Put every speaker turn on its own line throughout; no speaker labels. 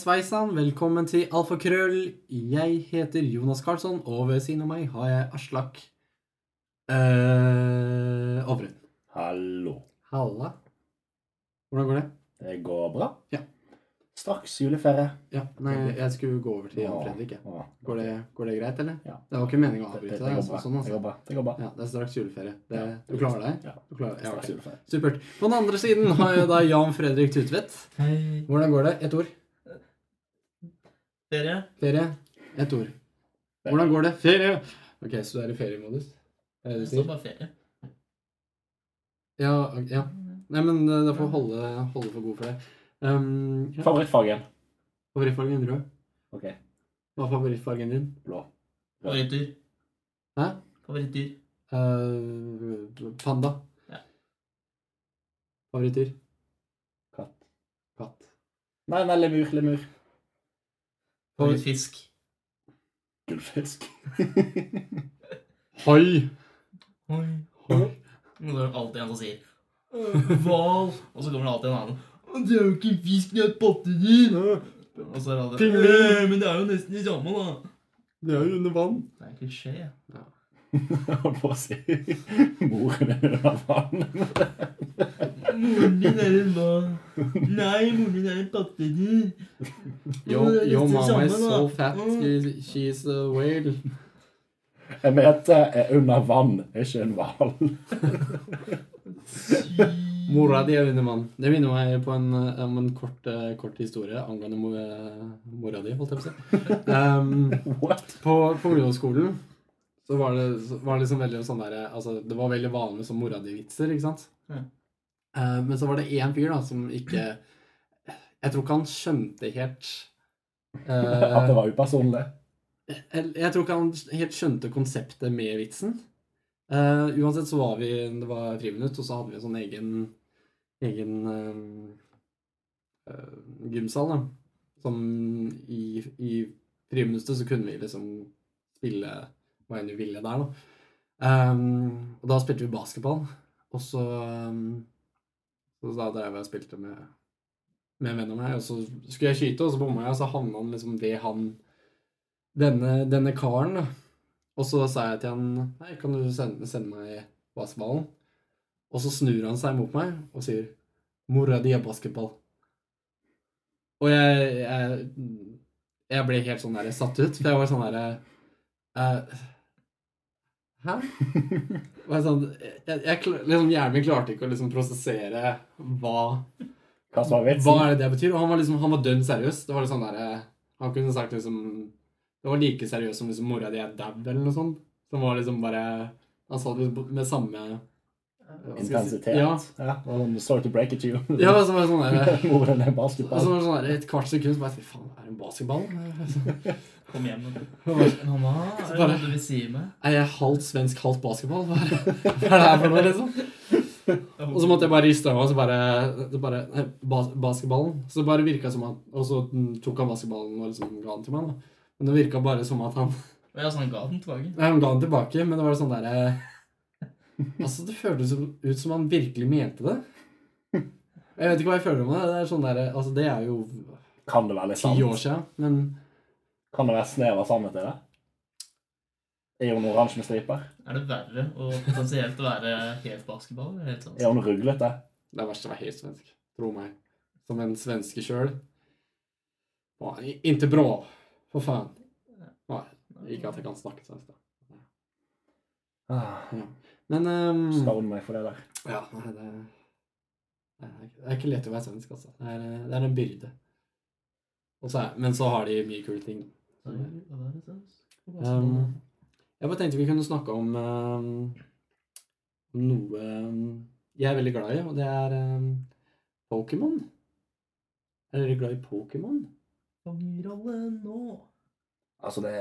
sveisann, velkommen til Alfakrøll. Jeg heter Jonas Karlsson, og ved siden av meg har jeg Aslak eh, Ovren.
Hallo.
Halla. Hvordan går det?
Det går bra?
Ja.
Straks juleferie.
Ja, nei, jeg skulle gå over til Jan Fredrik. jeg.
Åh,
Går det, går det greit, eller?
Ja.
Det var ikke meningen å
Det, det,
avbryte
det,
deg.
går
altså,
bra.
Sånn,
det
altså.
går bra. Det går bra.
Ja, det er straks juleferie. Det,
Ja.
du klarer deg?
Ja.
Du klarer, ja,
Straks
ok.
juleferie.
Supert. På den andre siden har jeg da Jan Fredrik Tutvedt.
Hei.
Hvordan går det? Ett ord.
Dere?
Ferie. Ett ord. Hvordan går det? Ferie! Ok, så du er i feriemodus? Er det det
Det
du
står
sier?
bare ferie.
Ja, ok, ja. Nei, men eh, det får holde, holde for god for deg. Um, ja.
Favorittfargen?
Favorittfargen rød.
Ok.
Hva er favorittfargen din?
Blå.
Favorittdyr.
Hæ?
Favorittdyr.
Eh, panda.
Ja.
Favorittdyr?
Katt.
Katt.
Nei, nei, lemur. Lemur.
Favoritt-
Favorittfisk.
Gullfisk.
Hoi!
Oi.
Hoi.
Nå er det alltid en som sier «Øh, Hval. Og så kommer det alltid en annen. «Å, Det er jo ikke en fisk, det er et pattedyr. Og så er det alltid
Pingvin.
«Øh, Men det er jo nesten det samme, da.
Det er jo under vann.
Det er en klisjé.
Holdt på å si moren din under vann.
Moren din er en hval. Nei, moren din er en pattedyr.
Yo,
Det er
yo
nesten det
mama is
samme, Mm.
so
da.
fat, she- she's a whale.
Jeg mente er under vann, ikke en hval.
Mora di er undermann. Det minner meg på en, eh, om en kort, eh, kort historie angående mo- eh, mora di, holdt jeg på å si. Um,
What?
på, på ungdomsskolen så var det, så var det liksom veldig sånn der, altså, Det var veldig vanlig som mora di-vitser, ikke sant?
Ja.
Eh, men så var det én fyr da som ikke Jeg tror ikke han skjønte helt eh,
At det var upersonlig?
jeg, jeg tror ikke han helt skjønte konseptet med vitsen. Eh, uansett så var vi Det var friminutt, og så hadde vi en sånn egen Egen eh, eh, gymsal, da. Som i, i friminuttet så kunne vi liksom spille hva enn vi ville der, da. Ehm, og da spilte vi basketball, og så ehm, Så da drev jeg og spilte med med en venn av meg, og så skulle jeg skyte, og så bomma jeg, og så havna han liksom ved han denne, denne karen, da. Og så sa jeg til han Hei, kan du sende, sende meg basketballen? Og så snur han seg mot meg og sier Mora di er basketball. Og jeg, jeg, jeg ble helt sånn der satt ut, for jeg var sånn derre Hæ? Det var sånn, jeg, jeg, kla- liksom, hjernen min klarte ikke å liksom prosessere hva
Hva som var
hva
vitsen?
er det det betyr? Og han var liksom, han var dønn seriøs. Det var litt sånn der, eh, Han kunne sagt liksom Det var like seriøst som liksom mora di er dau, eller noe sånt. Som var liksom bare Han sa det liksom med samme hva skal jeg si?
Intensitet?
Ja.
ja. det var sånn, Sorry to break it, you.
ja så var det sånn der,
Moren er
og så var
basketball.
det sånn der, et kvart sekund så bare Fy faen, er det en basketball?
Kom hjem. og-
Nei,
Mamma, er det
Bare-
noe du vil si meg?
jeg er halvt svensk, halvt basketball. Hva er det hva er det her for noe, liksom? Og så måtte jeg bare riste av meg, og så bare, så bare nei, bas Basketballen. Så det bare virka som han Og så mm, tok han basketballen og liksom ga den til meg, da. Men det virka bare som at han
Og jeg sånn ga den tilbake.
Nei, han ga den tilbake, men det var sånn der eh, Altså, det føltes som- ut som han virkelig mente det. Jeg vet ikke hva jeg føler om det. Det er sånn der, eh, altså, det er jo
Kan det være litt
ti år
sant?
siden, men
Kan det være snev av sannhet i det? Er hun oransje med striper?
Er det verre å potensielt være helt basketball? Eller helt
Er
sånn?
hun ruglete?
det er verst å være helt svensk. Tro meg. Som en svenske sjøl. Inte bra, for faen. Nei, ikke at jeg kan snakke svensk, da.
Ah,
Men ehm,
Stavn Mm. meg for det der.
Ja, nei, det det er ikke- det er ikke lett å være svensk, altså. Det er, eh, det er en byrde. Og så er, men så har de mye kule ting. Um, jeg bare tenkte vi kunne snakke om um, om noe um, jeg er veldig glad i, og det er um, Pokémon. Er dere glad i Pokémon?
Kongerolle nå.
Altså, det,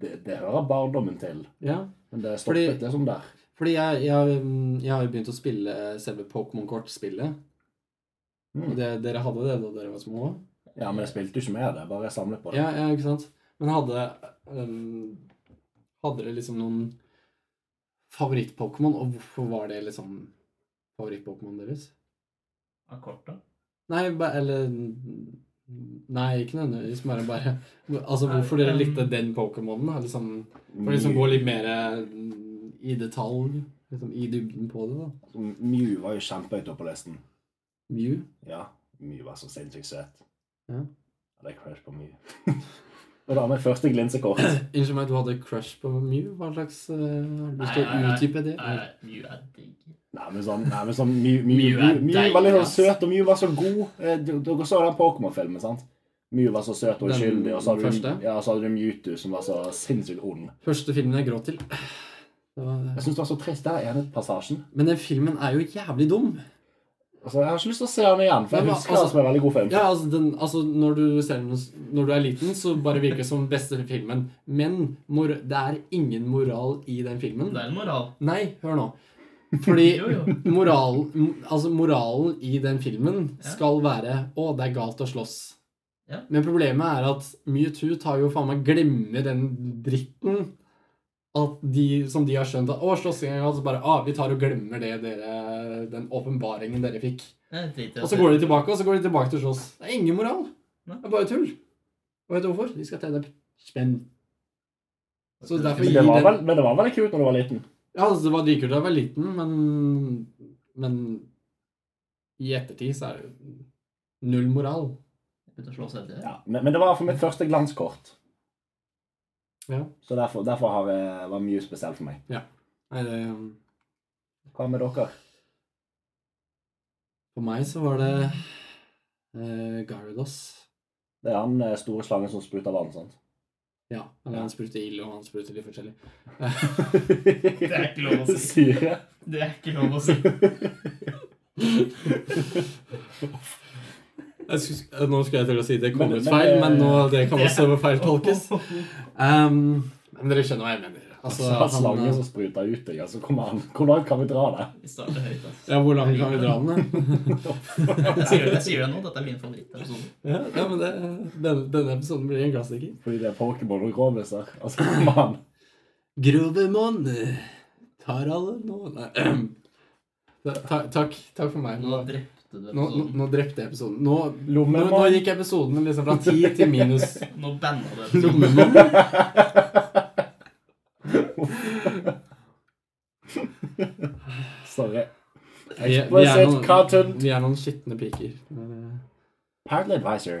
det, det hører barndommen til.
Ja.
Men det stoppet
Fordi-
liksom der.
Fordi jeg, jeg, um, jeg har jo begynt å spille selve Pokémon-kortspillet.
Mm.
Og det, dere hadde det da dere var små?
Ja, men jeg spilte jo ikke med det. Bare jeg samlet på det.
Ja, ja, ikke sant. Men hadde øhm, Hadde dere liksom noen favoritt-Pokémon, og hvorfor var det liksom favoritt-Pokémon deres?
Av korta?
Nei, ba, eller Nei, ikke nødvendigvis. Bare, bare Altså, hvorfor dere
Nei,
likte
em,
den Pokémonen? har Liksom, for liksom gå litt mer eh, i detalj, liksom i dybden på det, da.
Mew var jo kjempehøyt oppe på listen.
Mew.
Ja, Mew var så sinnssykt søt.
Ja.
Hadde jeg crush på Mew. Og da med første glinsekort.
Unnskyld meg, du hadde crush på Mew? Hva slags eh, Har du lyst til
Nei,
å
nei,
utdype det?
Nei, nei, Mew er digg.
Nei, men sånn, nei, men sånn Mew, Mew,
Mew
Mew,
er
Mew, var litt
deilig,
sånn
ass.
søt, og Mew var så god. Eh, du- Dere så den Pokémon-filmen, sant? Mew var så søt og
Den
uskyldig, og så hadde,
første?
du, ja, så hadde du Mewtwo som var så sinnssykt ond.
Første filmen jeg gråt til. Det var,
Jeg syns det var så trist. Der er enepassasjen.
men den filmen er jo jævlig dum.
Altså, jeg har ikke lyst til å se den igjen, for
Nei,
jeg
men
husker
altså-
den som en veldig god film.
Ja, altså, den, altså når, du ser den, når du er liten, så bare virker det som den beste filmen. Men mor det er ingen moral i den filmen.
Det er en moral.
Nei, hør nå. Fordi
Jo, jo.
moralen, m- altså moralen i den filmen
Ja.
skal være Å, det er galt å slåss.
Ja.
Men problemet er at Mewtwo tar jo faen meg glemmer den dritten at de, som de har skjønt at Å, slåssing er galt. Så bare Å, vi tar og glemmer det dere Den åpenbaringen dere fikk.
Jeg driter i
Og så
det.
går de tilbake, og så går de tilbake til å slåss. Det er ingen moral.
Nei.
Det er bare tull. Og vet du hvorfor? De skal tjene spenn. Så derfor
Men
gir
det, var
den-
vel, men det var veldig kult når du var liten.
Ja, altså, det var dritkult da jeg var liten, men Men i ettertid så er det jo null moral.
Begynte å slå seg etter det.
Ja, men, men det var for mitt første glanskort.
Ja.
Så derfor, derfor har jeg, var Mew spesielt for meg.
Nei, det
Hva med dere?
For meg så var det eh, Gyarados.
Det er han eh, store slangen som spruter vann, sant?
Ja. Eller han spruter ild, og han spruter litt forskjellig.
det
er ikke lov å si.
Syre.
Det er ikke lov å si.
Jeg skulle- eh, nå skulle jeg til å si det kom
Men-
ut
men-
feil, men nå, det kan
Det-
også feiltolkes. Um, men dere skjønner hva jeg mener. Altså,
så har
han,
slangen som spruter ut deg, altså kom an. Hvor langt kan vi dra det?
Vi starter høyt, altså.
ja, hvor langt kan vi dra den? da?
Jeg sier, jeg sier det nå, dette er min favorittepisode.
Ja, ja, men det, denne, denne episoden blir en klassiker.
Fordi det er Pokémon og gråbisser. Altså, kom an.
Grovemon tar alle nå Nei. Ta, ta- takk, takk for meg.
Nå
Nå,
drepte du
nå, nå,
episoden.
nå drepte jeg episoden. Nå, nå,
Lommemann.
nå gikk episoden liksom fra 10 til minus
Nå banna du episoden.
lommemann.
Sorry.
Vi, vi, er
Explicit
noen,
content.
vi er noen skitne piker. eh, Det
Parental advisor.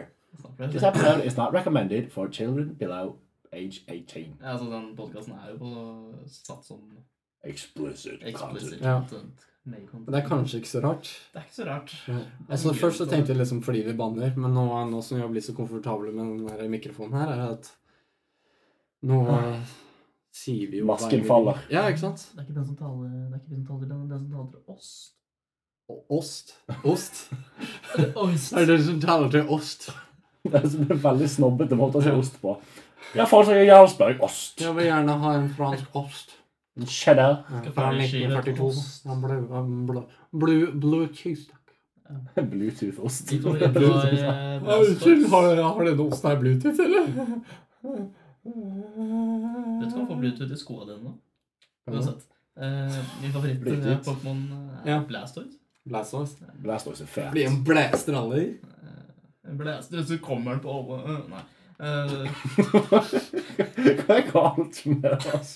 This
Ja,
episode is not recommended for children below age 18.
altså, den podcasten er jo på satt som
Explicit
explicit
content.
Ja.
content. Made content.
er kanskje ikke så rart.
Det er ikke så rart.
Altså Først så tenkte jeg liksom fordi vi banner, men nå, nå som vi har blitt så komfortable med den her mikrofonen her, er at nå eh, sier vi jo hva
Ah. Masken
vi-
faller.
Ja, ikke sant?
Det er ikke den som taler, det er ikke vi som taler, det er den som taler til oss.
Og ost. Ost.
Det er oss.
Det er det som taler til ost.
Det er en veldig snobbete måte å si ost på. Ja, folk som gjør Jarlsberg ost.
Jeg vil gjerne ha en fransk ost.
Cheddar.
Fra 1942. Ja, Blue, um, blue, blue, blue cheese, takk.
Bluetooth-ost.
Ditt favoritt var eh, Brass
Unnskyld, har,
Box.
har denne osten her Bluetooth, eller?
Vet du hva, får Bluetooth i skoene dine nå. Uansett. Eh, min favoritt eh,
Bluetooth.
Pokémon er
Ja.
Blastoise.
Blastoise.
Blastoise er fet.
Blir en blæster alle i.
Eh, Blastoise, så kommer den på alle eh, Nei. Eh,
Hva er galt med oss?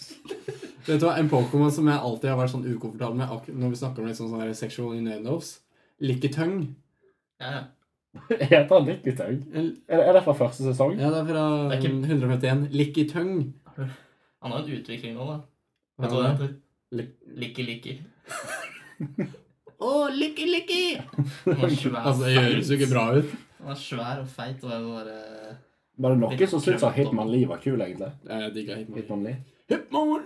Vet du hva, En Pokémon som jeg alltid har vært sånn ukomfortabel med ak- når vi snakker om litt sånn sånn her sexual innuendos, Lickitung.
ja, ja.
Heter han Likketøy?
Ja,
Er, er det fra første sesong?
det er fra
Det er ikke-
151. Lickitung.
Han har en utvikling nå, da.
Hva
Vet du hva det
er det?
heter?
Lik-
Likki Likki.
Å, Likki Likki!
Han er svær,
Altså, det høres jo ikke bra ut.
Han er svær og feit og er eh,
Var
bare
det noen som syntes at Hitman Lee var kul, egentlig?
Jeg digga Hitmonlee.
Hitman Lee?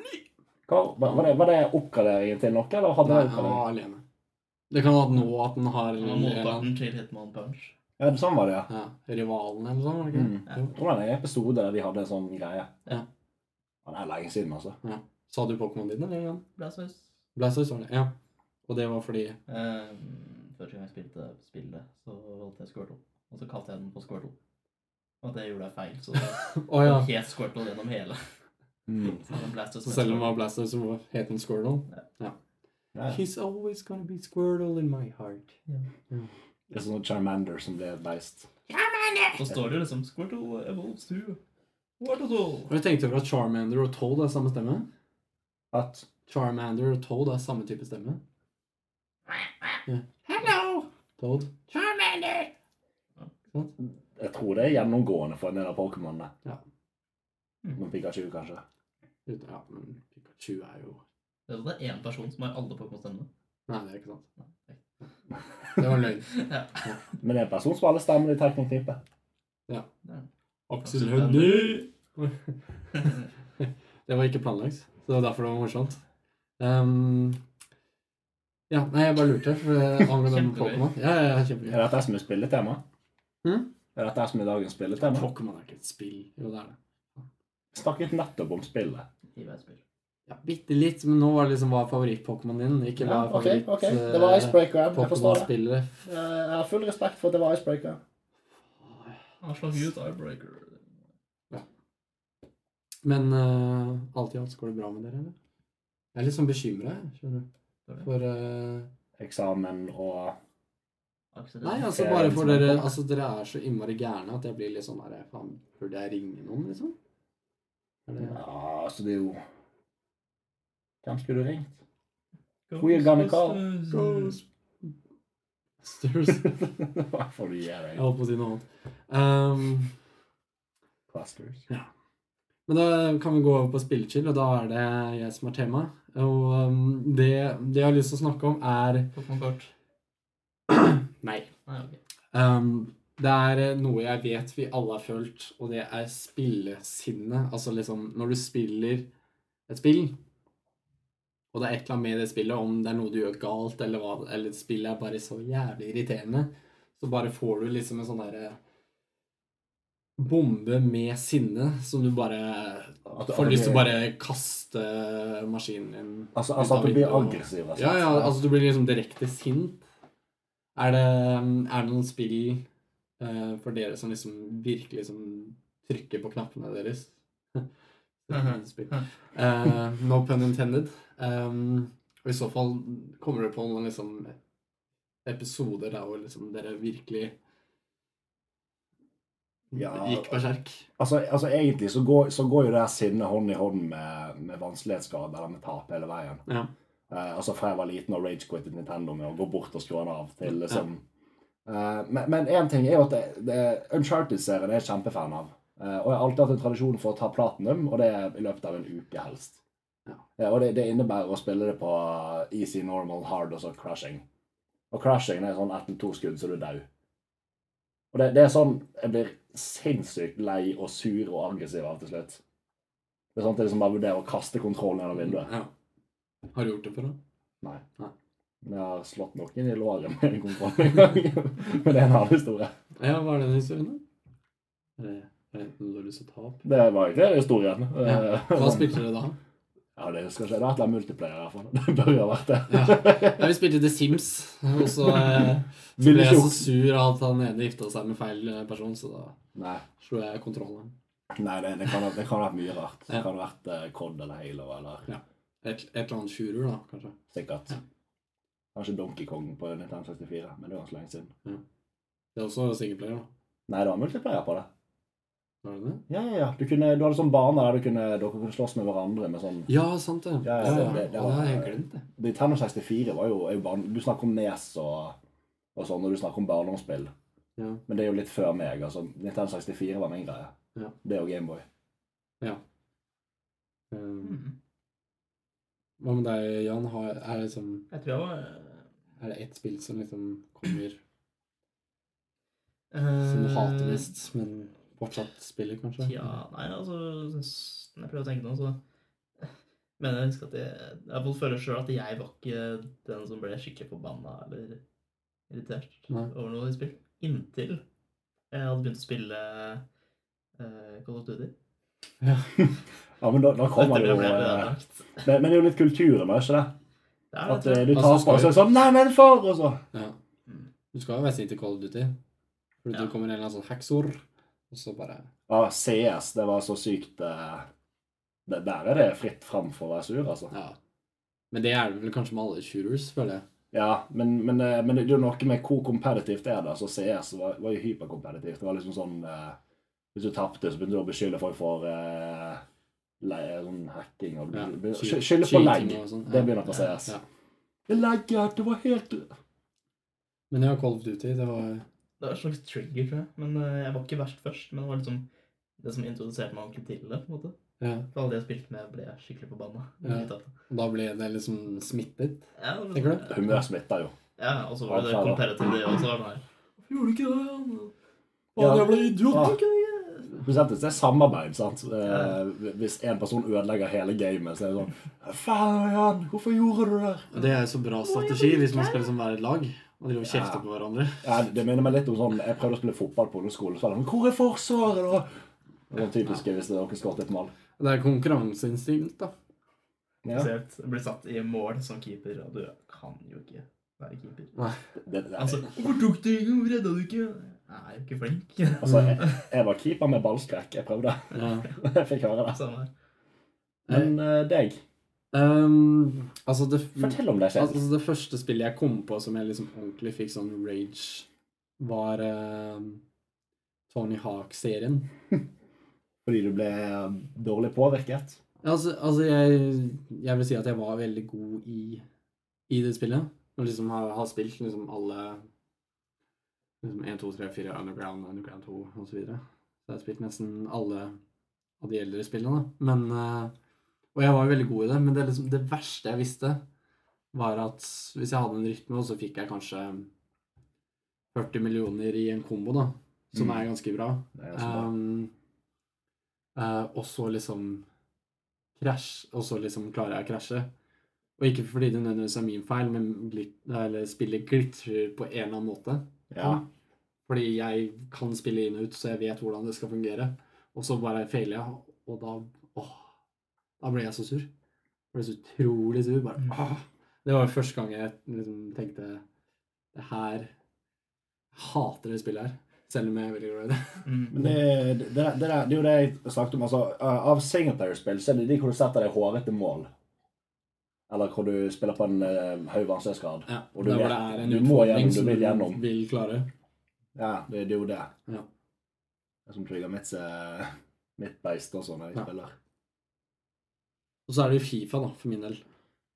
Hitmonlee!
Hva, var, var det, var det oppgraderingen til noe, eller hadde
Nei,
han
han
oppgradering?
var alene. Det kan være at nå at den har
Han er
ja,
motparten til Hitman Punch.
Ja, sånn var det, ja.
rivalen eller noe sånt. var det
Mm.
ikke? Jo.
Jeg tror det er en episode der de hadde en sånn greie.
Ja.
Ja, Det er lenge siden, altså.
Sa du Pokémon din, eller? Jan?
Blastoise.
Blastoise var det. Ja. Og det var fordi
Eh, første gang jeg spilte spillet, så valgte jeg Squirtle. Og så kalte jeg den på Squirtle. Og det gjorde jeg feil, så det
Å ja. Mm.
het Squirtle gjennom hele.
Mm.
Så den Blastoise
Så selv om det var Blastoise, så het den Squirtle?
Ja.
He's always gonna be Squirtle in my heart.
Det er sånn Charmander som ble beist. Charmander!
Så står det jo liksom Squirtle evolves to Wartotle.
Har du tenkt over at Charmander og Toad er samme stemme?
At
Charmander og Toad er samme type stemme. Ja.
Hello,
Toad.
Charmander!
jeg tror det er gjennomgående for en del av Pokémonene.
Ja.
Men Pikachu, kanskje.
Uten- Ja, men Pikachu er jo
Det er det én person som har alle Pokémon-stemmene.
Nei, det er ikke sant. Det var løgn.
Ja.
Men det er en person som har alle stemmene i Tekniknippet.
Aksel Hønny! Det var ikke planlagt, så det var derfor det var morsomt. Ehm, ja, nei, jeg bare lurte. for jeg Angående
Kjempegøy.
Pokémon. Ja, ja, ja, kjempegøy.
Er dette som er spilletema?
Hm?
Er dette som er dagens spilletema?
Pokémon er ikke et spill. Jo, det er det.
Snakket nettopp om spillet.
I hvert spill.
Ja, Bitte litt, men nå var det liksom hva er favoritt-Pokémonen din. Ikke eh, hva
Ja,
er
ok, ok. Det var
favoritt-Pokémon-spillere.
icebreakeren. Jeg forstår det. Eh, Jeg har full respekt for at det var icebreakeren.
Han slang ut Eyebreaker.
Men eh, alt i alt, går det bra med dere, eller? Jeg er litt sånn bekymra, skjønner du. For eh,
Eksamen og
Akkurat.
Nei, altså
Ok,
bare
liksom,
for dere
velkommen.
Altså, dere er så innmari gærne at jeg blir litt sånn her Faen, burde jeg ringe noen, liksom? Er det,
Ja, altså, det er jo Hvem skulle du ringt? Who you gonna call?
Stairs.
Hva får du gjøre?
Jeg holdt på å si noe annet. Ehm,
Plasters.
men da kan vi gå over på spillechill, og da er det jeg som er tema. Og ehm, det, det jeg har lyst til å snakke om, er
Pokémon-kort.
Nei.
Nei, ok.
Ehm, det er noe jeg vet vi alle har følt, og det er spillesinne. Altså liksom når du spiller et spill, og det er et eller annet med det spillet, om det er noe du gjør galt, eller hva, eller spillet er bare så jævlig irriterende, så bare får du liksom en sånn derre bombe med sinne som du bare
At- at
får
du
lyst til å
blir-
bare kaste maskinen din
Altså,
ut av
altså at du blir
vinduet og-
aggressiv. rett og
ja,
slett.
ja, altså du blir liksom direkte sint. Er det, um, er det noen spill eh, for dere som liksom virkelig liksom trykker på knappene deres? Spill. Eh, no pun intended. Um, og i så fall kommer det på noen liksom episoder der hvor liksom dere virkelig
Ja.
gikk berserk.
Altså, altså egentlig så går, så går jo det her sinnet hånd i hånd med, med vanskelighetsgrad eller med tap hele veien.
Ja.
Eh, altså fra jeg var liten og ragequittet Nintendo med å gå bort og skru den av til liksom eh, Men men én ting er jo at det, det Uncharted-serien er jeg kjempefan av. Eh, og jeg har alltid hatt en tradisjon for å ta platinum, og det er i løpet av en uke helst.
Ja.
Eh, og det, det innebærer å spille det på easy, normal, hard og så crashing. Og crashing det er sånn ett eller to skudd, så du er dau. Og det, det er sånn jeg blir sinnssykt lei og sur og aggressiv av til slutt. Det er sånn at jeg liksom bare vurderer å kaste kontrollen gjennom vinduet.
Ja. Har du gjort det før, da?
Nei.
Nei.
Men jeg har slått noen i låret med en kontroll en gang. Men det er en annen historie.
Ja, hva er den historien, da? Er det, er det noe du har lyst til å ta opp?
Det var egentlig historien.
Ja.
Eh,
Hva spilte dere da?
Ja, det husker jeg ikke. Det er et eller annet multiplayer i hvert fall. Det bør jo ha vært det.
Ja, vi spilte The Sims, og så eh, så
Ville
ble jeg
ikke
så sur av at han ene gifta seg med feil eh, person, så da
Nei,
slo jeg kontrollen.
Nei det, det, kan, ha- det kan ha vært mye rart. Det
Ja.
kan ha vært eh, COD eller Halo eller
Et, et eller annet tjurer, da, kanskje.
sikkert.
Ja.
Kanskje Donkey Kong på 1964, men det var så lenge siden.
Det er også singleplayer, da.
Nei, det var multiplayer på det.
Var det det?
Ja, ja, ja. Du, kunne, du hadde sånn bane der du kunne, dere kunne slåss med hverandre med sånn
Ja, sant det.
Ja, ja,
ja,
det- det- det
Å, det har jeg
var-
glemt, det.
Nintendo 64 var jo, er jo barn... Du snakker om Nes og, og sånn, og du snakker om barndomsspill.
Ja.
Men det er jo litt før meg. altså. Nintendo 64 var min greie.
Ja.
Det og Gameboy.
Eh,
Mhm.
Hva med deg, Jan? Har, er, det liksom,
Jeg tror jeg var eh,
er det ett spill som liksom kommer
eh,
som du hater mest, men fortsatt spiller, kanskje?
Ja, nei, altså s- Når jeg prøver å tenke nå, så mener jeg husker at jeg Jeg i hvert fall føler sjøl at jeg var ikke den som ble skikkelig forbanna eller irritert
Nei.
over noe i spill. Inntil jeg hadde begynt å spille eh, Call of Duty.
Ja, men da, da kommer
Etter
det
det
jo
ble jeg
eh,
ødelagt.
Men men det er jo litt kulturen, er ikke det?
Det er
At
det,
eh,
tror jeg.
du
Altså,
taper,
skal
og så er det sånn Nei, men for! Og så
Ja.
Mm.
Du skal jo være sint i Call of Duty, fordi
Ja.
du kommer en eller annen sånn heksor, og så bare
Ja, CS, det var så sykt eh, det, Der er det fritt fram for å være sur, altså.
Ja. Men det er det vel kanskje med alle shooters, føler jeg.
Ja, men, men, eh, men det er jo noe med hvor kompetitivt er det. Altså CS var, var jo hyperkompetitivt. Det var liksom sånn eh, Hvis du tapte, så begynte du å beskylde folk for eh, le, sånn hacking og
Ja.
be-
Cheat-
Skylde på legg.
cheating og sånn.
Det
Ja,
begynner på
ja,
CS.
ja.
Legget, det var helt
Men ja, Call of Duty, det var
Det var en slags trigger, tror jeg. Men eh, jeg var ikke verst først. Men det var liksom det som introduserte meg ordentlig til det. på en måte.
ja.
For alle de jeg spilte med, ble jeg skikkelig forbanna.
Ja.
Ja.
Og da ble det liksom smittet.
Ja, det var
Tenker
sånn-
Humør smitter jo.
Ja, og så var det
Atferd, da.
comparative, det også. var det sånn her. Hvorfor gjorde du ikke det? Jan?
Ja.
jævla idiot!
Ah.
Hvorfor ikke det?
Spesielt hvis det er samarbeid. sant?
Ja.
Eh, Hvis en person ødelegger hele gamet, så er det sånn Faen, Jan, hvorfor gjorde du det?
Og Det er jo så bra strategi hvis man skal liksom være et lag og drive og kjefte
Ja.
på hverandre.
Ja, det minner meg litt om sånn Jeg prøvde å spille fotball på ungdomsskolen. Så var det sånn Hvor er forsvaret, da? Det var typisk hvis dere skåret et mål.
Det er konkurranseinstinkt, da.
Ja.
Spesielt bli satt i mål som keeper, og du kan jo ikke være keeper.
Det, det,
Altså, hvorfor tok du ikke? Hvorfor redda du ikke? Jeg er jo ikke flink.
Altså,
Mm.
jeg, jeg var keeper med ballskrekk. Jeg prøvde.
Ja.
Jeg fikk høre det.
Samme her.
Men eh, deg,
Ehm, altså, det,
fortell om deg selv.
altså, det første spillet jeg kom på som jeg liksom ordentlig fikk sånn rage, var ehm, Tony Hawk-serien.
Fordi du ble eh, dårlig påvirket.
Ja, Altså, altså jeg, jeg vil si at jeg var veldig god i, i det spillet. Og liksom har, har spilt liksom alle liksom 1, 2, 3, 4, Underground, Underground 2 osv. Så, videre. så jeg har spilt nesten alle av de eldre spillene. da. Men, eh, og jeg var veldig god i det, men det, er liksom, det verste jeg visste, var at hvis jeg hadde en rytme, og så fikk jeg kanskje 40 millioner i en kombo, da, som
Mm.
er ganske bra.
Det er ganske bra.
Um, eh, og så liksom krasj, og så liksom klarer jeg å krasje. Og ikke fordi det nødvendigvis er min feil, men glit, eller spillet glitrer på en eller annen måte.
Ja.
Fordi jeg kan spille inn og ut, så jeg vet hvordan det skal fungere. Og så bare feiler jeg, og da åh, Da ble jeg så sur. Jeg ble så utrolig sur. Bare,
Mm.
åh. Det var første gang jeg liksom tenkte Det her Jeg hater det spillet her. Selv om jeg er veldig glad i det.
Mm.
Men det, det, det, det, det er jo det jeg snakket om. Altså, eh, av singleplayer-spill så er det de hvor du setter deg hårete mål. Eller hvor du spiller på en eh, høy vanskelighetsgrad.
Ja,
Og du
der hvor
vet-
det er en
du må gjennom,
utfordring
du
som
vil
du
gjennom.
vil klare.
Ja, det, det er jo det.
Ja.
Det som trigger mitt, eh, mitt beist også når jeg
Ja.
spiller.
Og så er det jo Fifa, da, for min del.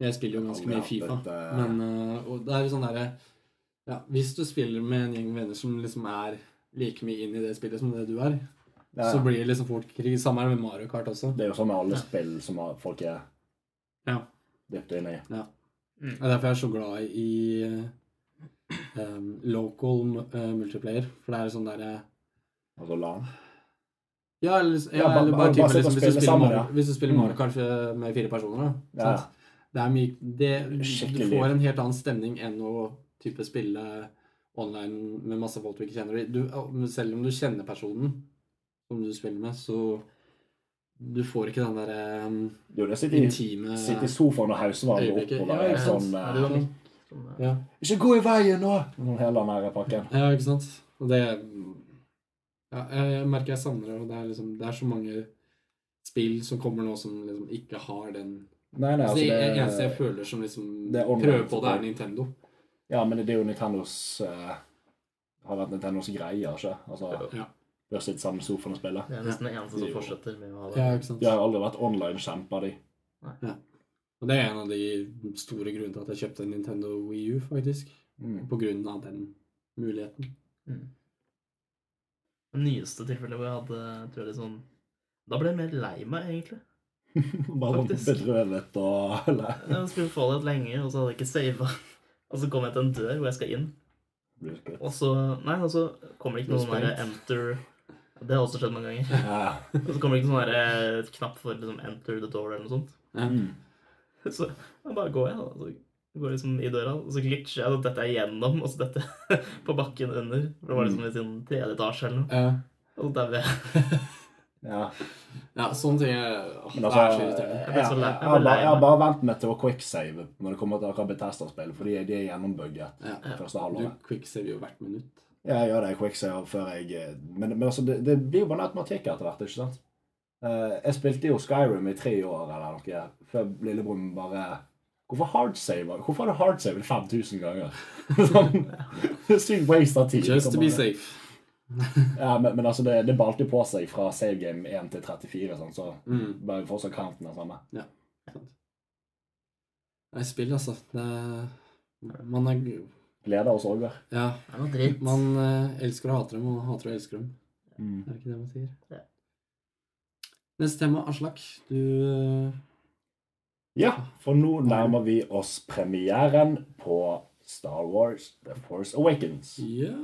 Jeg spiller jo ganske mye Fifa.
eh,
Men øh, og det er jo sånn derre ja, Hvis du spiller med en gjeng venner som liksom er like mye inn i det spillet som det du er,
Ja,
så blir det liksom fort krig. Samme er det med Mario Kart også.
Det er jo sånn med alle spill som har- folk er
Ja.
dypt inne i.
Mm.
Det er derfor jeg er så glad i øhm, local øh, multiplayer. For det er sånn derre
Altså LAN.
ja, eller, ja,
Ja, ba-
eller
ba-
bare
bare
typen
sitte og
liksom, hvis,
spille
du spiller
sammen,
Mario,
ja.
hvis du spiller
Mm.
Mario Kart øh, med fire personer, da.
Ja.
Sant? Det er mye det, Du
Skikkelig
får
liv.
en helt annen stemning enn å type spille online med masse folk du ikke kjenner. Du, selv om du kjenner personen som du spiller med, så du får ikke den derre um,
Du, det sitter i,
intime
sitter i sofaen og hauser hverandre
Øyeblikket,
oppover.
ja,
Ja,
ikke sant.
sånn,
Ja, det
eh,
var Nick som, eh,
ja.
ikke gå i veien nå! Sånn hele den her pakken.
ja, ikke sant? Og det ja, Jeg merker jeg savner det, og det er, liksom, det er så mange spill som kommer nå som liksom ikke har den
Nei, nei,
altså, Det eneste
altså
jeg føler som liksom
det er online,
prøver på det,
selvfølgelig.
er Nintendo.
Ja, men det er jo Nintendos eh, Har vært Nintendos greie, ikke Altså,
Ja.
Du har sittet sammen i sofaen og spillet.
Det er nesten det eneste som fortsetter med å ha det.
Ja, ikke sant?
De har jo aldri vært online-kjemper, de.
Og det er en av de store grunnene til at jeg kjøpte en Nintendo Wii U, faktisk.
Mm.
På grunn av den muligheten.
Mm. Det nyeste tilfellet hvor jeg hadde tror jeg litt sånn Da ble jeg mer lei meg, egentlig.
Bare sånn
Faktisk.
bedrøvet og eller,
Jeg hadde spilt Fallout lenge, og så hadde jeg ikke sava. Og så kom jeg til en dør hvor jeg skal inn,
blir skutt.
og så Nei, og så kommer det ikke noe sånn derre enter Det har også skjedd mange ganger.
Ja.
Og så kommer det ikke sånn der, eh, knapp for liksom, 'enter the door' eller noe sånt.
Mm.
Så jeg bare går jeg, da. Så går jeg liksom i døra, og så glitcher jeg, og dette er igjennom, og så dette på bakken under. For det var liksom i sin tredje etasje eller noe.
Ja.
Og så dauer jeg.
ja.
Ja, sånne ting er, åh,
Men
det
altså,
er så
jeg,
irriterende.
jeg,
ble så
jeg,
lei- jeg ble
har bare-
lei
jeg har
meg.
bare vent meg til å quicksave når det kommer til akkurat Bethesda-spill, for de er, de er gjennombugget
Ja.
det første
Du
halvåret.
quicksaver jo hvert minutt.
Ja, jeg gjør det, jeg quicksave før jeg eh, Men, men altså, det, det blir jo bare en automatikk etter hvert, ikke sant? Eh, jeg spilte jo Skyrim i tre år eller noe før lillebroren bare Hvorfor hardsaver Hvorfor har du hardsavet 5000 ganger? Sånn, Sykt waste av tid.
Just to be
Bare-
safe.
Ja, men, men altså, det, det balte jo på seg fra save game 1 til 34, sånn, så
Mm.
bare fortsatt counten den samme.
Nei, spill, altså. Det, man er
Gleder og sorger.
Ja.
Det er noe dritt.
Man eh, elsker og hater dem, og hater og elsker dem.
Mm.
Det er ikke det man sier.
Ja.
Neste tema, Aslak. Du eh,
Ja, for nå nærmer vi oss premieren på Star Wars The Force Awakens.
Ja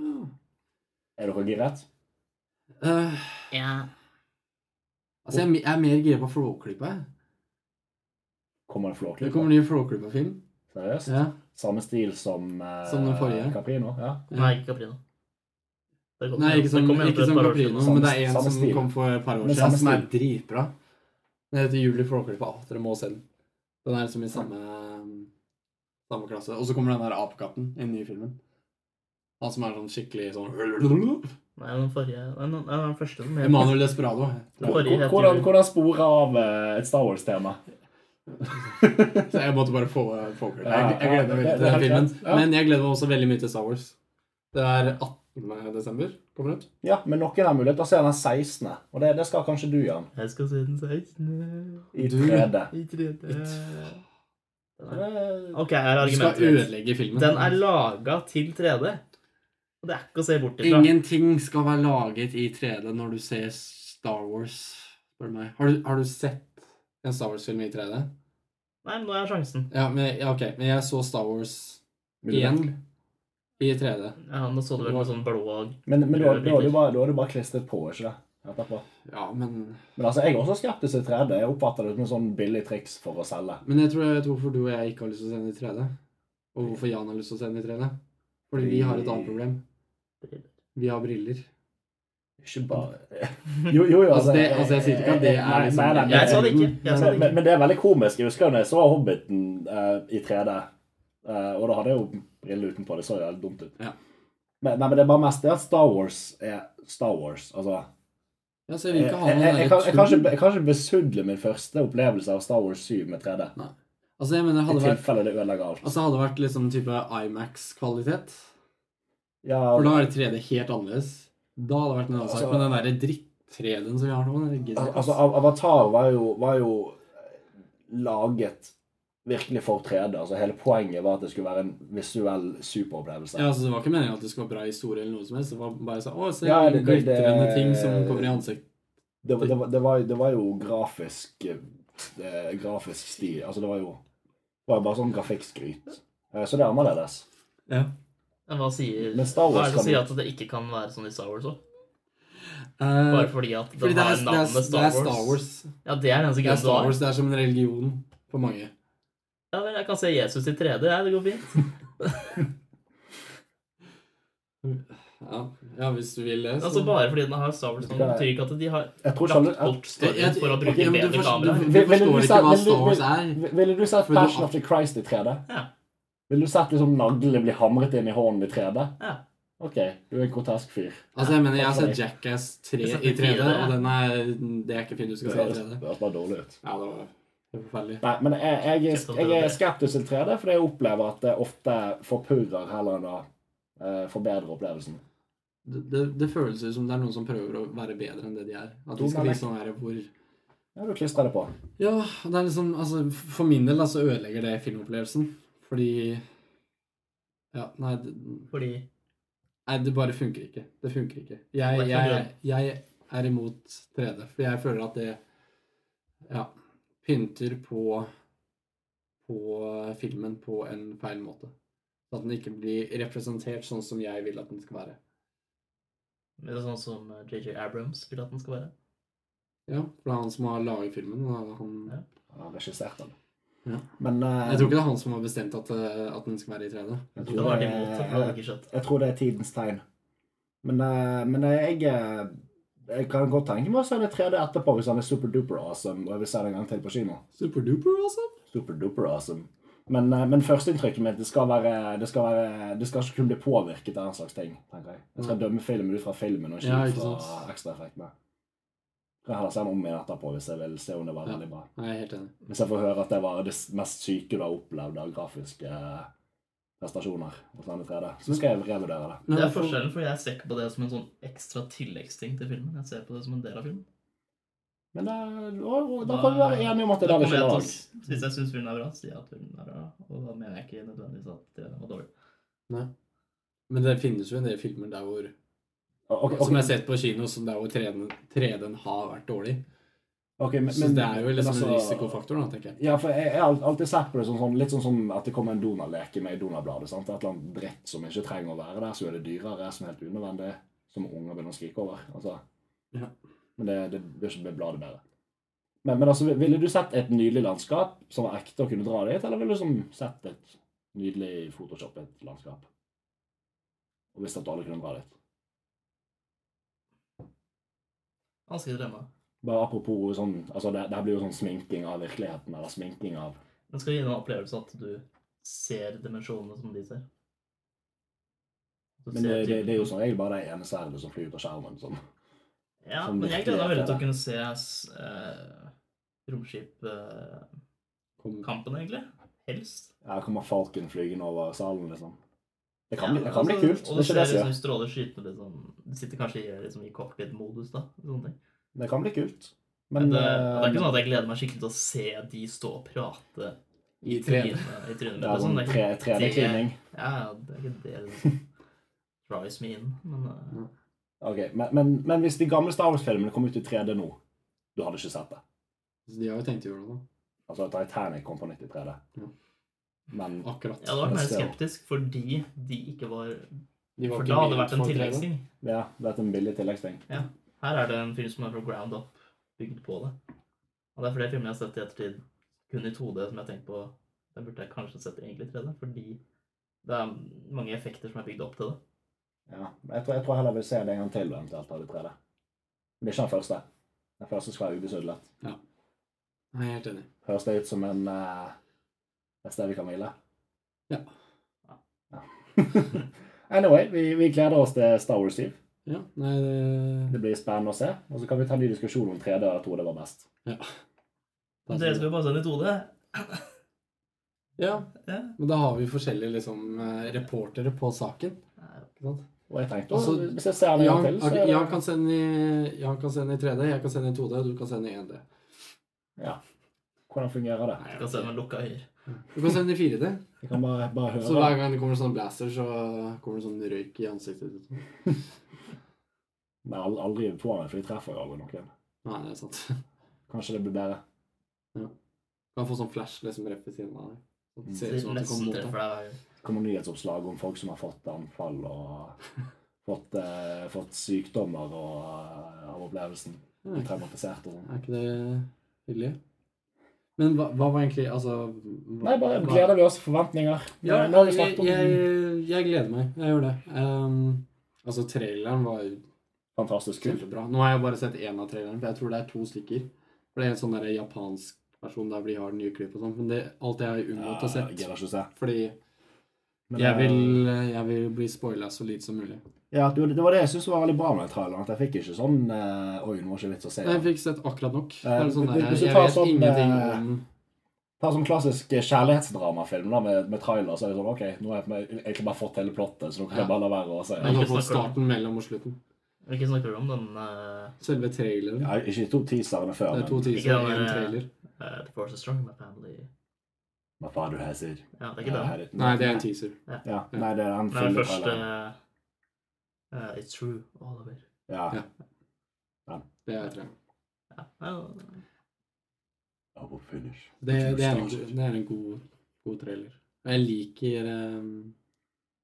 Er dere giret?
Eh,
Ja.
Altså, jeg, er me- jeg er mer gira på Flåklypa. jeg.
Kommer det
Det
flåklyper?
kommer ny Flåklypa-film.
Seriøst?
Ja.
Samme stil som, eh,
Som den forrige?
Caprino? Ja.
Nei, ikke Caprino. Det kom-
Nei,
det
ikke som,
kom jo for
ikke
et
som
par år altså.
Caprino,
siden.
men det er en
Samme
som
stil.
kom for et par år
Men
siden
samme
som er dritbra. Den heter Julie Flåklypa. Å, Dere må se den. Den er liksom i samme Samme klasse. Og så kommer den der apekatten i den nye filmen. Han som er sånn skikkelig sånn
Nei, den forrige Nei, den, nei, den første som
Emanuel Desperado.
Den forrige heter
Hvordan,
jo-
hvordan sporer av eh, et Star Wars-tema?
Så jeg måtte bare få Flåklypa.
Ja,
Jeg, jeg gleder meg veldig til den
det- det er helt
filmen.
greit. Ja.
Men jeg gleder meg også veldig mye til Star Wars. Det er 18. desember. Kommer det ut?
Ja, men noen har mulighet til å se den 16., og det, det skal kanskje du, Jan.
Jeg skal se den 16.
I
Du-
3D.
i 3D. Den er-
Det-
Ok, her er
Du skal
argumentet mitt.
ødelegge filmen.
Den er laga til 3D. Og det er ikke å se bort ifra.
Ingenting skal være laget i 3D når du ser Star Wars, spør du meg. Har du, har du sett en Star Wars-film i 3D?
Nei, men nå er sjansen.
Ja, men, ja, ok. Men jeg så Star Wars
Vil du
igjen
virkelig?
i 3D.
Ja, nå så du vel med sånn blå og
Men, men da da har du bare, da har du bare klistret på, ikke det? Etterpå.
Ja, men
Men altså, jeg er også skeptisk til 3D. Jeg oppfatter det som et sånn billig triks for å selge.
Men jeg tror jeg vet hvorfor du og jeg ikke har lyst til å se den i 3D. Og hvorfor Jan har lyst til å se den i 3D. Fordi vi har et annet problem. Vi har briller.
Ikke bare Jo, jo, jo.
Altså, det, altså jeg sier ikke at det
Nei,
er
nei,
liksom
nei,
Jeg sånn sa det ikke. Jeg sa det
Men, men, men det er veldig komisk. Jeg husker da jeg så Hobbiten eh, i 3D. eh, og da hadde jeg jo briller utenpå. Det så jo helt dumt ut.
Ja.
Men, nei, men det er bare mest det at Star Wars er Star Wars. Altså,
Ja, så Altså, jeg vil
jeg, jeg,
ikke ha noe
jeg,
der
kan, jeg, kan
tull.
ikke, jeg kan ikke besudle min første opplevelse av Star Wars 7 med 3D.
Altså, jeg mener,
I
hadde det vært,
tilfelle det ødelegger alt.
altså, hadde det vært liksom type Imax-kvalitet
Ja,
For da er 3D helt annerledes. Da hadde det vært en annen sak.
Altså-
Men den der dritt-3D-en som vi har nå den gidder jeg ikke,
Altså,
ass.
Av- Avatar var jo, var jo eh, laget virkelig for 3D. Altså, hele poenget var at det skulle være en visuell superopplevelse.
Ja, altså, det var ikke meningen at det skulle være bra historie eller noe som helst. Det var bare sånn Å, se
Ja, det- det- det-
glitrende ting som kommer i ansiktet.
Det, var- det, var- det, var, det var jo grafisk eh, grafisk stil. Altså, det var jo det var jo bare sånn grafikkskryt. Eh, Så det er annerledes.
Ja.
Men hva sier
Men Star Wars
Hva er det som
kan-
sier at det ikke kan være sånn i Star Wars òg?
Eh,
Bare fordi at
fordi
den
det
har
er, det, er,
navnet
det
Star
er Star
Wars?
Wars.
Ja, det er den eneste
Det er
grunnen du
Star
har.
Wars, det er som en religion for mange.
Ja, vel, jeg kan se Jesus i 3D, ja, det går fint.
Ja, ja hvis du vil det, så
Altså Bare fordi den har Star Wars, nå, betyr ikke at de har
Jeg tror ikke alle
lagt bort storyen for å
Ok,
bruke
men du
bedre
forstår-
kamera.
Du,
Vil-
du
ville du
forstår ikke
sa-
hva
ville-
Star Wars
ville-
er.
Ville du sett
For du-
Passion of the Christ i 3D?
Ja.
Ville du sett liksom naglene bli hamret inn i hånden i 3D?
Ja.
OK, du er en grotesk fyr.
Altså, jeg mener, jeg har sett Jackass 3
Jeg har
i
sett
3D,
4D, ja.
og den er Det er ikke fint du
Det
skal se i
høres det
3D.
høres bare dårlig ut.
Ja, det var det var forferdelig.
Nei, men jeg, jeg,
Skeptisk
jeg,
til
er
det.
skeptisk til 3D, fordi jeg opplever at det ofte forpurrer heller enn å eh, forbedre opplevelsen.
Det, det, det føles ut som det er noen som prøver å være bedre enn det de er. At de skal liksom være hvor
Ja, du klistrer det på.
Ja, det er liksom Altså, for min del da, så ødelegger det filmopplevelsen. Fordi Ja, nei det,
Fordi
nei, det bare funker ikke. Det funker ikke.
Hva
Jeg,
er
jeg,
grunnen?
jeg er imot 3D, for jeg føler at det Ja. Pynter på på filmen på en feil måte. At den ikke blir representert sånn som jeg vil at den skal være.
men det er sånn som eh, JJ Abrams vil at den skal være.
Ja, for det er han som har laget filmen. og Han,
Ja.
Jeg har regissert den.
Ja.
Men eh,
Jeg tror ikke det er han som har bestemt at, eh, at den skal være i 3D.
jeg
Han
tror
har vært
det,
imot, for han har
jeg,
ikke skjønt.
jeg tror det er tidens tegn. Men, eh, men eh, jeg, eh, jeg kan godt tenke meg å se det 3D etterpå hvis han er superduper awesome, og jeg vil se det en gang til på kino.
Superduper, altså?
Superduper awesome. Men, eh, men førsteinntrykket mitt det skal, være, det, skal være, det skal ikke kunne bli påvirket av den slags ting. tenker Jeg Jeg skal
Mm.
dømme filmen ut fra filmen og ikke
Ja,
ut
ikke
fra
sant.
ekstraeffektene. Kan heller se den om igjen etterpå hvis jeg vil se om det var
Ja.
veldig bra.
Nei, jeg er helt enig.
Hvis jeg får høre at det var det s- mest syke du har opplevd av grafiske prestasjoner hos denne 3D, så skal jeg revurdere det.
Men
Det er
hvorfor-
forskjellen, for jeg ser ikke på det som en sånn ekstra tilleggsting til filmen. Jeg ser på det som en del av filmen.
Men det, å, å, da kan vi være enige om at det er der vi skiller lag.
Hvis jeg syns filmen er bra, sier jeg at filmen er bra. Og da mener jeg ikke nødvendigvis at treeren var dårlig.
Men det finnes jo en del filmer der hvor
Ok, ok,
Som jeg har sett på kino, som der hvor 3D-en 3D-en har vært dårlig.
ok, men-
Så
men-
det er jo
men
liksom en
altså-
risikofaktor, da, tenker jeg.
Ja, for jeg jeg har alt- alltid sett på det som sånn, litt sånn som at det kommer en Donald-leke med i Donald-bladet. sant? Et eller annet dritt som ikke trenger å være der, som er det dyrere, som er helt unødvendig, som unger begynner å skrike over. altså.
Ja.
Men det, det blir ikke blir bladet bedre. Men, men altså, ville du sett et nydelig landskap som var ekte og kunne dra dit, eller ville du som sett et nydelig photoshoppet landskap? Og visst at du alle kunne dra dit?
Vanskelig dilemma.
Bare apropos sånn, altså det, det her blir jo sånn sminking av virkeligheten, eller sminking av
Den skal gi deg en opplevelse at du ser dimensjonene som de ser. Du
Men
ser
det, det,
typen.
det er jo som regel bare det ene sverdet som flyr ut av skjermen. sånn.
Ja,
som
men jeg
virkelig
gleder meg veldig til
er
å kunne se uh, romskipkampen,
Kom.
egentlig. Helst.
Her kommer Falken flygende over salen, liksom. Det kan,
Ja,
bli, det kan bli
altså,
kult. Det
Og
er
du
ikke
ser
det jeg sier.
liksom stråler skytende liksom. Du sitter kanskje i, liksom, i cockpit-modus, da. Sånne ting.
Det kan bli kult.
Men,
Men
sånn- det, det er ikke
eh,
sånn at jeg gleder meg skikkelig til å se de stå og prate
I 3D.
trynet- i
det
trynet mitt.
er
og
sånn
sånn. Det er ikke-
3D-klining.
Ja, ja, det er ikke det liksom. drives me in, men eh,
Ok, men, men, men hvis de gamle Star Wars-filmene kom ut i 3D nå, du hadde ikke sett det.
Så de har jo tenkt å gjøre det,
Altså Titanic kom på nytt i 3D.
Ja.
Men
da. Akkurat.
Jeg hadde vært mer
Neste år.
skeptisk fordi de ikke var
De var
For
ikke
da hadde det
ment
vært en
for 3D.
tilleggsting.
ja, det er en billig tilleggsting.
Her er det en film som er fra ground up, bygd på det. Og det er flere filmer jeg har sett i ettertid kun i 2D som jeg har tenkt på Den burde jeg kanskje sett egentlig i 3D, fordi det er mange effekter som er bygd opp til det.
Ja. men Jeg tror, jeg tror heller jeg vil se det en gang til, eventuelt, av de 3D. Men det er ikke den første. Den første skal være ubesudlet.
Nei, jeg er helt enig.
Høres det ut som en eh, et sted vi kan hvile?
Ja.
Ja. anyway, vi, vi gleder oss til Star Wars Eve.
Ja, nei,
Det
det,
blir spennende å se. Og så kan vi ta en ny diskusjon om 3D og 2D var best.
ja.
Men Dere skal jo bare se den i 2D.
Ja,
Ja.
men da har vi forskjellige liksom, eh, reportere på saken.
Nei,
Ikke sant?
Og jeg tenkte,
Altså,
å, hvis jeg ser den en
Jan,
gang til, så
ok,
er det-
Jan kan sende i, Jan kan sende i 3D, jeg kan sende i 2D, du kan sende i 1D.
Hvordan fungerer det?
Nei, altså.
Jeg
jeg
kan se
vet
med lukka øyer.
ikke. Du kan sende i 4D.
Vi kan bare, bare høre.
Så hver gang det kommer sånn blaster, så kommer det sånn røyk i ansiktet ditt.
Men al- aldri på den, for de treffer jo aldri noen.
Nei, det er sant.
Kanskje det blir bedre.
Kan få sånn flash liksom rett ved siden av deg. Så det
Så
Ser ut som at det
nesten
kommer mot deg.
treffer deg hver gang.
Det kommer nyhetsoppslag om folk som har fått anfall og fått, eh, fått sykdommer og, eh, av opplevelsen.
Ja,
Blir
ikke-
Traumatisert og sånn.
Er ikke det hyggelig? Men hva, hva var egentlig Altså hva,
Nei, bare
hva-
gleder vi oss til forventninger.
Ja,
Nå har vi
jeg,
snakket om
jeg, jeg gleder meg. Jeg gjør det. Ehm, altså, traileren var jo
fantastisk kult.
kjempebra. Nå har jeg bare sett én av trailerne, for jeg tror det er to stykker. For det er en sånn der japansk versjon der de har nye klipp og sånn. Men det, alt det har jeg
Ja,
unngått å
jeg
sett.
gidder ikke å se.
Fordi
Men
jeg
det-
vil, jeg vil bli spoila så lite som mulig.
Ja, det var- det var det jeg syntes var veldig bra med traileren. At jeg fikk ikke sånn eh, Oi, nå var ikke vits å se.
Jeg
den.
fikk sett akkurat nok. Det
Eh,
er sånn
hvis-
der,
hvis du
jeg
tar
vet
sånn,
ingenting
eh,
om
Ta sånn klassisk kjærlighetsdramafilm da, med, med trailer. Så er det sånn OK, nå har jeg på meg- jeg egentlig bare fått hele plottet, så nå kan jeg
Ja.
bare la være å se.
Jeg har
ikke
fått
snakker om-
starten, mellom og slutten.
Hvilken snakker du om? Den eh,
Selve traileren.
Ja, ikke de to teaserne før,
Det er to
men
teasere og
Ikke
én
den der-
trailer.
eh, The Force is Strong, My Family
Hva faen du her sier?
Ja, det er ikke den.
Ja,
Nei, det er en teaser.
Ja, nei, det er den
Nei, den
fulle
første
traileren.
eh, It's true, all over.
Ja.
Ja. Det er traileren.
Ja, ja,
Our finish.
Det, det, er, en- det er en god, god trailer. Og Jeg liker ehm,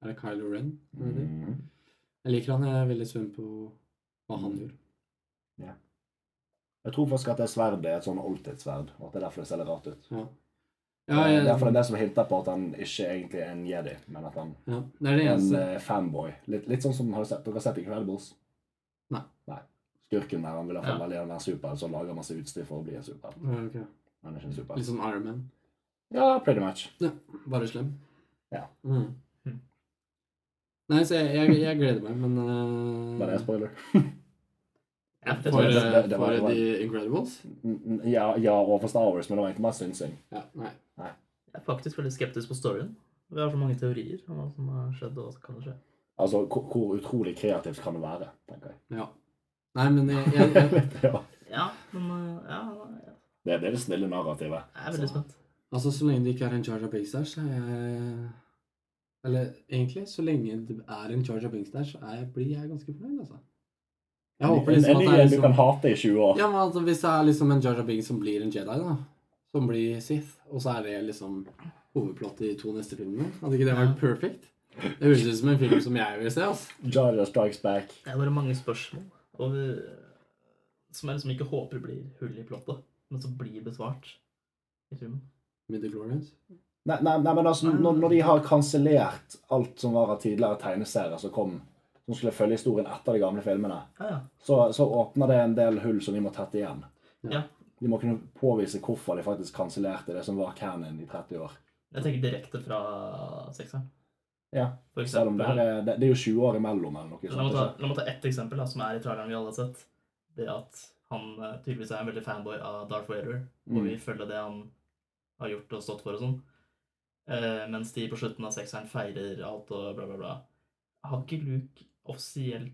Er det Kylo Ren? Er det det?
Mhm.
Jeg liker han. Jeg er veldig spent på hva
Mm.
han gjør.
Jeg tror faktisk at det sverdet er et sånn oldtidssverd, og at det er derfor det ser litt rart ut.
Ja. Ja,
Det er
jeg,
Derfor Eh, det er det som hinter på at han ikke egentlig er en jedi, men at han
ja, det er det
en
eneste.
eh, fanboy. Litt, litt sånn som har du sett, dere har sett Incredibles?
Nei.
Skurken der han vil i hvert fall
Ja.
veldig gjerne være super, så han lager masse utstyr for å bli en super.
Ja, ok.
Han er ikke en super.
Litt sånn Iron Man.
Ja, pretty much.
Bare slem.
Ja.
Mm.
Mm.
Nei, så jeg, jeg, jeg gleder meg, men
Var det
eh,
en spoiler?
Ja, det
For,
tror jeg
det-
eh,
det var- det
for
var-
The Incredibles?
Mm, Ja, ja og for Star Wars, men det var egentlig mest synsing.
Ja, nei.
Jeg
eh,
er faktisk veldig skeptisk på storyen. Vi har så mange teorier om hva som har skjedd, og hva som kan skje.
Altså, hvor, hvor utrolig kreativt kan det være, tenker jeg.
Ja. Nei, men jeg, jeg, jeg
ja.
Ja, men eh, ja, jeg
det, det er det snille narrativet.
er
Så-
veldig spent.
Altså, så lenge det ikke er en Charger Binks der, så er jeg Eller egentlig, så lenge det er en Charger Binks der, så er jeg, blir jeg ganske fornøyd, altså. Jeg håper
en,
liksom
en,
at det
en,
er
du kan
liksom
hate i 20 år.
Ja, men altså, hvis det er liksom en Charger Binks som blir en Jedi, da, som blir Sith, og så er det liksom hovedplott i de to neste filmene, hadde ikke det vært perfect? Det høres ut som en film som jeg vil se, altså.
Jar Jar Strikes Back.
Det er bare mange spørsmål og vi, som jeg liksom ikke håper blir hull i plottet, men som blir besvart i filmen.
Midichlorians.
Nei, nei, nei, men altså, når, når de har kansellert alt som var av tidligere tegneserier som kom, som skulle følge historien etter de gamle filmene,
Ja, ja.
så, så åpner det en del hull som de må tette igjen.
Ja.
De må kunne påvise hvorfor de faktisk kansellerte det som var canon i 30 år.
Jeg tenker direkte fra sekseren.
Ja,
For
Selv om det, her
eksempel,
er, det, det er jo 20 år imellom. eller noe
la, meg
sånt.
ta,
ikke?
la meg ta ett eksempel da, som er i traileren vi alle har sett. Det at han eh, tydeligvis er en veldig fanboy av Darth Vader, og
Mm.
vi følger det han har gjort og stått for og sånn. Eh, mens de på slutten av sekseren feirer alt og bla, bla, bla. Har ikke Luke offisielt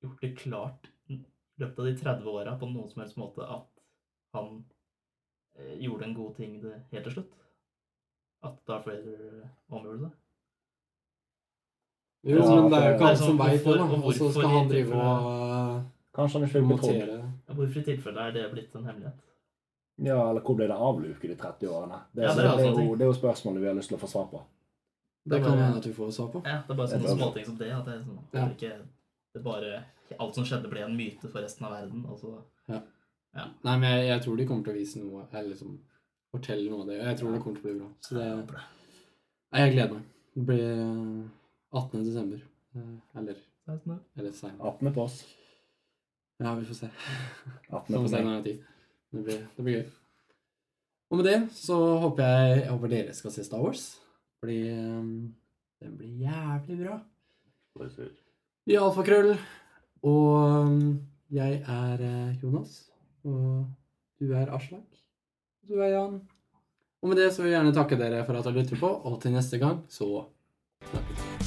gjort det klart i løpet av de 30 åra på noen som helst måte at han eh, gjorde en god ting det, helt til slutt? At Darth Vader omgjorde det?
Jo,
Ja,
men det er jo
for-
ikke alle som
Hvorfor-
veit det, da.
og
Og så
hvorfor
skal han
de
drive og
Kanskje han ikke
eh,
fikk betrodd.
promotere det.
Ja, Hvorfor i tilfelle er det blitt en hemmelighet?
Ja, eller hvor ble det av Luke i de 30 årene? Det,
Ja,
er-
det er
det,
altså
er jo,
ting.
det er jo spørsmålet vi har lyst til å få svar på.
Det kan
bare-
hende at vi får svar på.
Ja, det er bare
Det er
sånne
bra.
småting som det. At det, er sånn,
Ja.
at det ikke det er bare Alt som skjedde, ble en myte for resten av verden. Og så
Nei, men jeg, jeg tror de kommer til å vise noe, eller liksom fortelle noe av det. og Jeg tror det kommer til å bli bra. Så det, nei, jeg gleder meg. Det blir eh, 18. desember. Eh, Eller,
sånn,
eller senere.
18. på oss.
Ja, vi får se.
18.
Vi får
på
Sånn
se
meg.
når det er tid. Det blir, det blir gøy. Og med det så håper jeg, jeg håper dere skal se Star Wars. Fordi eh, den blir jævlig bra. Vi er Alfakrøll, og um, jeg er eh, Jonas, og du er Aslak, og du er Jan. Og med det så vil jeg gjerne takke dere for at dere lytter på, og til neste gang så snakkes vi.